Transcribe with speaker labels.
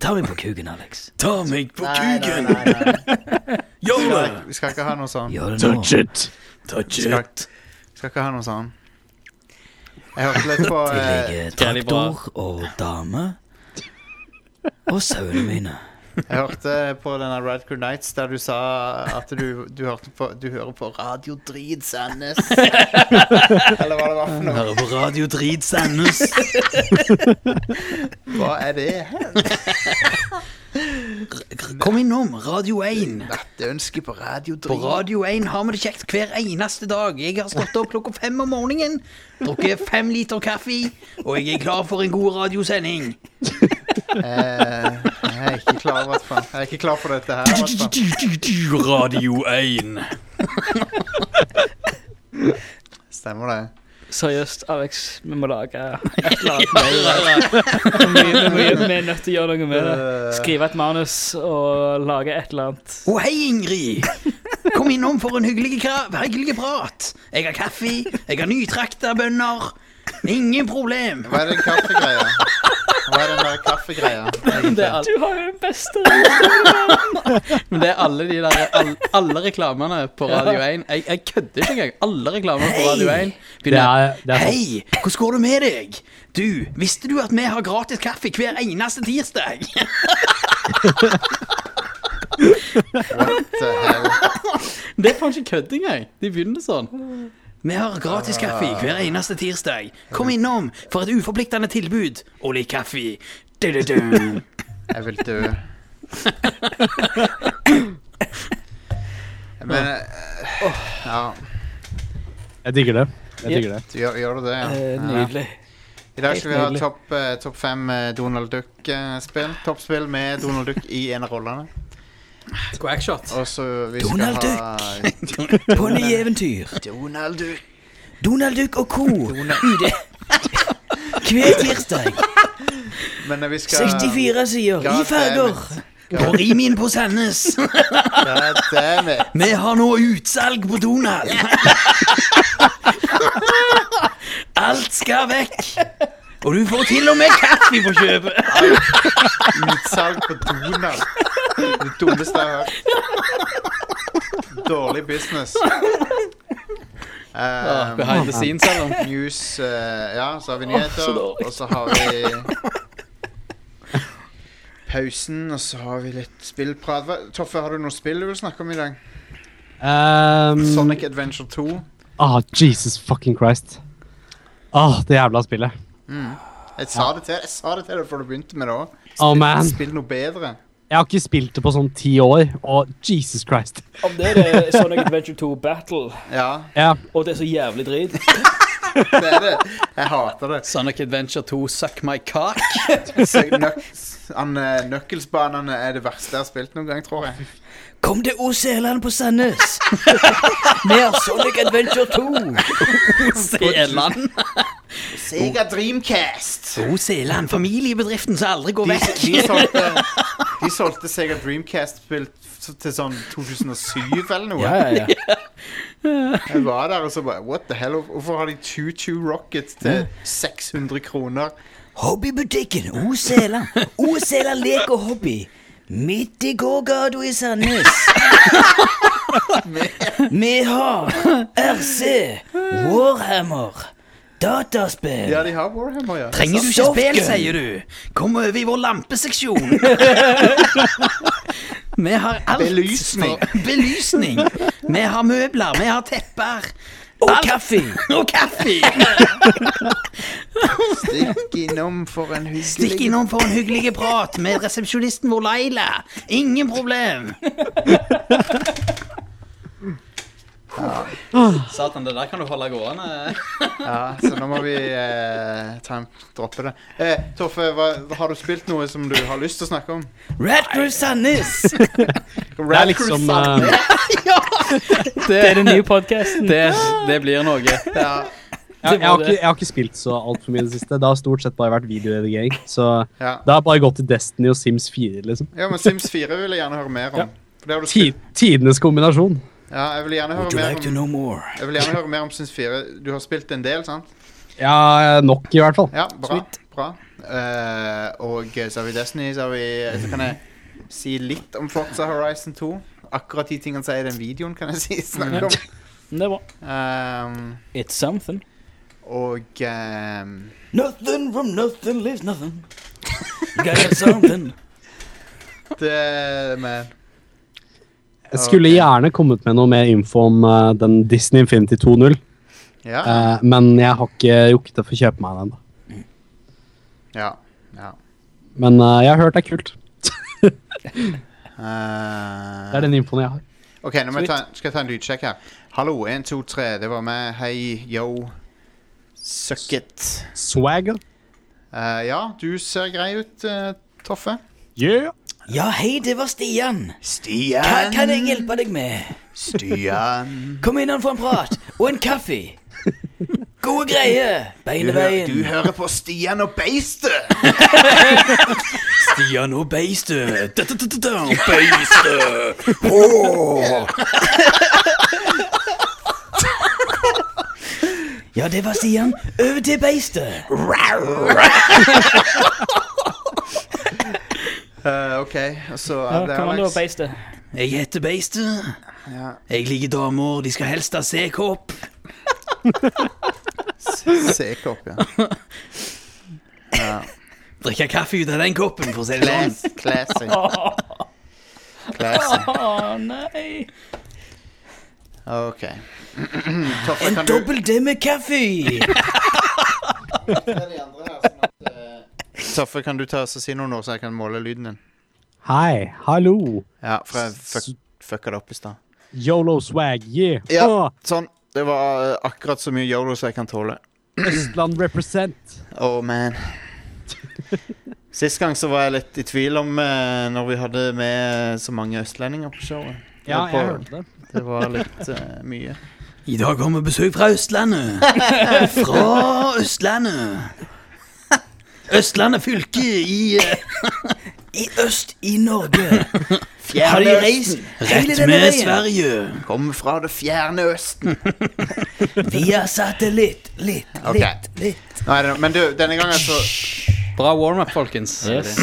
Speaker 1: Ta meg på kuken, Alex.
Speaker 2: Ta meg på
Speaker 3: Nei, nei,
Speaker 2: kuken!
Speaker 3: nei, nei.
Speaker 2: Gjør det!
Speaker 3: Vi skal ikke ha noe sånn.
Speaker 1: Gjør det nå.
Speaker 4: Touch it.
Speaker 2: Touch
Speaker 3: Skal-
Speaker 2: it.
Speaker 3: Skal ikke ha noe sånn. Jeg hørte litt på
Speaker 1: Det
Speaker 3: eh,
Speaker 1: ligger
Speaker 2: Jævlig bra.
Speaker 1: traktor og dame. Og sauene mine.
Speaker 3: Jeg hørte på denne Red Crew Nights der du sa at du, du, hørte på, du hører på Radio Drit Sandnes. Eller hva det var for noe.
Speaker 1: Hører på Radio Drit Sandnes.
Speaker 3: Hva er det?
Speaker 1: Kom innom Radio 1.
Speaker 3: Nattønske på Radio
Speaker 1: På
Speaker 3: Drit.
Speaker 1: Radio 1 har vi det kjekt hver eneste dag. Jeg har stått opp klokka fem om morgenen, drukket fem liter kaffe, og jeg er klar for en god radiosending.
Speaker 3: Eh, jeg er ikke klar, i hvert fall. Jeg er ikke klar for dette her. i hvert fall.
Speaker 2: Radio 1.
Speaker 3: Stemmer det.
Speaker 4: Seriøst, Alex, vi må lage et eller annet med det der. Vi, vi, vi, vi er nødt til å gjøre noe med det. Skrive et manus og lage et eller annet.
Speaker 1: Å, hei, Ingrid! Kom innom for en hyggelig, kra- hyggelig prat. Jeg har kaffe, jeg har nytrakta bønner. Ingen problem.
Speaker 3: Hva er den kaffegreia? Hva er den der kaffegreia?
Speaker 5: Det er,
Speaker 4: Du har jo den beste.
Speaker 5: al- men det er alle de der all, Alle reklamene på Radio 1. Jeg, jeg kødder ikke engang. Alle reklamene på Radio 1
Speaker 6: Det
Speaker 5: begynner
Speaker 6: er, det er sånn.
Speaker 1: Hei, hvordan går det med deg? Du, visste du at vi har gratis kaffe hver eneste tirsdag?
Speaker 3: What the hell?
Speaker 5: Det er faen ikke kødd engang. De begynner sånn.
Speaker 1: Vi har gratis kaffe hver eneste tirsdag. Kom innom for et uforpliktende tilbud og litt kaffe. Du-du-du.
Speaker 3: Jeg vil dø. Men eh, Ja,
Speaker 6: Jeg digger det. Jeg digger det.
Speaker 3: du gjør, gjør du det? Ja.
Speaker 4: Eh,
Speaker 3: ja.
Speaker 4: Nydelig.
Speaker 3: I dag skal vi ha
Speaker 4: Helt nydelig.
Speaker 3: topp eh, topp fem eh, Donald Duck-spill. Toppspill med Donald Duck i en av rollene.
Speaker 5: Quackshot.
Speaker 3: Og så vi
Speaker 1: Donald
Speaker 3: skal ha
Speaker 1: På nye eventyr.
Speaker 3: Donald Duck.
Speaker 1: Donald Duck og co. UD. Hver tirsdag.
Speaker 3: Men eh, vi skal
Speaker 1: 64 sider i
Speaker 3: God
Speaker 1: farger. På Rimin på Sandnes.
Speaker 3: God damn it.
Speaker 1: Vi har nå utsalg på Donald. Alt skal vekk. Og du får til og med kaffe på kjøpet.
Speaker 3: Utsalg på Donald. Det dummeste jeg har hørt. Dårlig business.
Speaker 5: Ah,
Speaker 3: Um,
Speaker 5: behind the scenes, eller?
Speaker 3: news eh, Ja, så har vi nyheter, og så har vi pausen, og så har vi litt spillprat. Hva- Toffe, har du noe spill du vil snakke om i dag?
Speaker 6: Um,
Speaker 3: Sonic Adventure 2.
Speaker 6: Ah, Jesus fucking Christ. Ah, det jævla spillet.
Speaker 3: Jeg sa det til, jeg sa det til deg før du begynte med det òg.
Speaker 6: Oh, man.
Speaker 3: Spill noe bedre.
Speaker 6: Jeg har ikke spilt det på sånn ti år, og Jesus Christ.
Speaker 4: Om det er det Sonic Adventure 2 Battle,
Speaker 3: Ja,
Speaker 6: Ja,
Speaker 4: og det er så jævlig drit
Speaker 3: det er det. Jeg hater det.
Speaker 5: Sonic Adventure 2 Suck My Cock.
Speaker 3: Så nøk- han, eh, Nøkkelsbanene er det verste jeg har spilt noen gang, tror jeg.
Speaker 1: Kom til Åseland på Sandnes. Vi har Sonic Adventure 2.
Speaker 5: Se Elland.
Speaker 3: Sega Dreamcast.
Speaker 1: Åseland, familiebedriften som aldri går
Speaker 3: De,
Speaker 1: vekk.
Speaker 3: de, solgte, de solgte Sega Dreamcast-spill til sånn 2007 eller noe.
Speaker 5: ja, ja.
Speaker 3: Jeg var der og så bare What the hell? Hvorfor har de Choo Choo Rocket til 600 kroner?
Speaker 1: Hobbybutikken Osela. Osela lek og hobby. Midt i gågata i Sandnes. Vi har RC, Warhammer, dataspill.
Speaker 3: Ja, de har Warhammer, ja.
Speaker 1: Trenger du ikke spill, sier du? Kom over i vår lampeseksjon. Vi har alt.
Speaker 3: Belysning.
Speaker 1: fra- Belysning. Vi har møbler, vi har tepper. Og kaffe. Og kaffe.
Speaker 3: Stikk innom for en hyggelig
Speaker 1: Stikk innom for en hyggelig prat med resepsjonisten vår Laila. Ingen problem.
Speaker 5: Satan, det der kan du holde gående.
Speaker 3: Ja, så nå må vi eh, ta en, droppe det. Eh, Toffe, hva, har du spilt noe som du har lyst til å snakke om?
Speaker 1: Radcrew Sandnes.
Speaker 6: det er liksom eh,
Speaker 4: Det er den nye podkasten.
Speaker 5: Det, det blir noe.
Speaker 3: Ja,
Speaker 6: jeg, jeg, har ikke, jeg har ikke spilt så altfor mye i det siste. Det har stort sett bare vært videoredigering. Så
Speaker 3: ja.
Speaker 6: det har bare gått til Destiny og Sims 4, liksom.
Speaker 3: ja, men Sims 4 vil jeg gjerne høre mer om. For det har du
Speaker 6: Ti,
Speaker 3: spilt.
Speaker 6: tidenes kombinasjon.
Speaker 3: Ja, jeg vil gjerne høre mer om, jeg vil gjerne høre mer om Sims 4. Du har spilt en del, sant?
Speaker 6: Ja, nok i hvert fall.
Speaker 3: Ja, bra. bra. Eh, og så har vi Destiny, så har vi Så kan jeg si litt om Forza Horizon 2. Akkurat de tingene som er i den videoen, kan jeg si snakke om.
Speaker 4: Men det er bra.
Speaker 3: Ehm,
Speaker 4: It's something.
Speaker 3: og ehm,
Speaker 4: Nothing from nothing lives nothing. Got something.
Speaker 3: det Men
Speaker 6: Jeg skulle gjerne kommet med noe mer info om eh, den Disney Infinity 2.0,
Speaker 3: ja.
Speaker 6: eh, men jeg har ikke rukket å få kjøpe meg den. da.
Speaker 3: ja, ja.
Speaker 6: Men eh, jeg har hørt det er kult.
Speaker 3: Eh,
Speaker 6: Det er den infoen jeg har.
Speaker 3: OK, nå må jeg ta, skal jeg ta en lydsjekk her. Hallo, 1, 2, 3. Det var meg. Hei, yo. Suck it.
Speaker 6: Swagger.
Speaker 3: Eh, ja, du ser grei ut, eh, Toffe.
Speaker 6: Yeah.
Speaker 1: Ja, hei, det var Stian.
Speaker 3: Stian.
Speaker 1: Hva kan jeg hjelpe deg med?
Speaker 3: Stian.
Speaker 1: Kom inn og få en prat. Og en kaffe. Gode greier.
Speaker 3: Du, hø- du
Speaker 1: Beineveien.
Speaker 3: hører på Stian og beistet!
Speaker 2: Stian og beistet. Da-da-da-da, Beistet.
Speaker 1: Ja, det var Stian. Over til beistet.
Speaker 3: Eh, OK, og så
Speaker 4: Ja,
Speaker 3: er det
Speaker 4: kom an, da,
Speaker 3: Alex.
Speaker 4: beistet.
Speaker 1: Jeg heter Beistet.
Speaker 3: Ja.
Speaker 1: Jeg liker damer. De skal helst ha C-kopp.
Speaker 3: C-kopp, ja.
Speaker 1: Drikke kaffe ut av den koppen, for å si det sånn.
Speaker 3: Class, classy. Classy.
Speaker 4: Å nei.
Speaker 3: OK. Toffe,
Speaker 1: En
Speaker 3: kan du
Speaker 1: dobbel D med kaffe.
Speaker 3: sånn eh, Toffe, kan du ta oss og si noe nå, så jeg kan måle lyden din?
Speaker 6: Hei. Hallo.
Speaker 3: Ja, for jeg fuck, fucka det opp i stad.
Speaker 6: Yolo swag, yeah.
Speaker 3: Ja.
Speaker 6: Åh,
Speaker 3: Sånn. Det var eh, akkurat så mye yolo som jeg kan tåle.
Speaker 6: Østland represent.
Speaker 3: Oh, man. Sist gang så var jeg litt i tvil om eh, når vi hadde med så mange østlendinger på showet. Det
Speaker 6: Ja,
Speaker 3: var
Speaker 6: jeg
Speaker 3: på-
Speaker 6: hørte det.
Speaker 3: Det var litt eh, mye.
Speaker 1: I dag har vi besøk fra Østlandet. Fra Østlandet. Østlandet fylke i eh, I øst i Norge. Har de reist hele
Speaker 2: Rett
Speaker 1: denne
Speaker 2: med
Speaker 1: veien?
Speaker 2: Sverige.
Speaker 3: Kom fra det fjerne østen.
Speaker 1: Via satellitt. Litt, litt,
Speaker 3: Ok.
Speaker 1: litt.
Speaker 3: Nei, det- men du, denne gangen så
Speaker 5: Bra warm-up, folkens.
Speaker 4: Yes.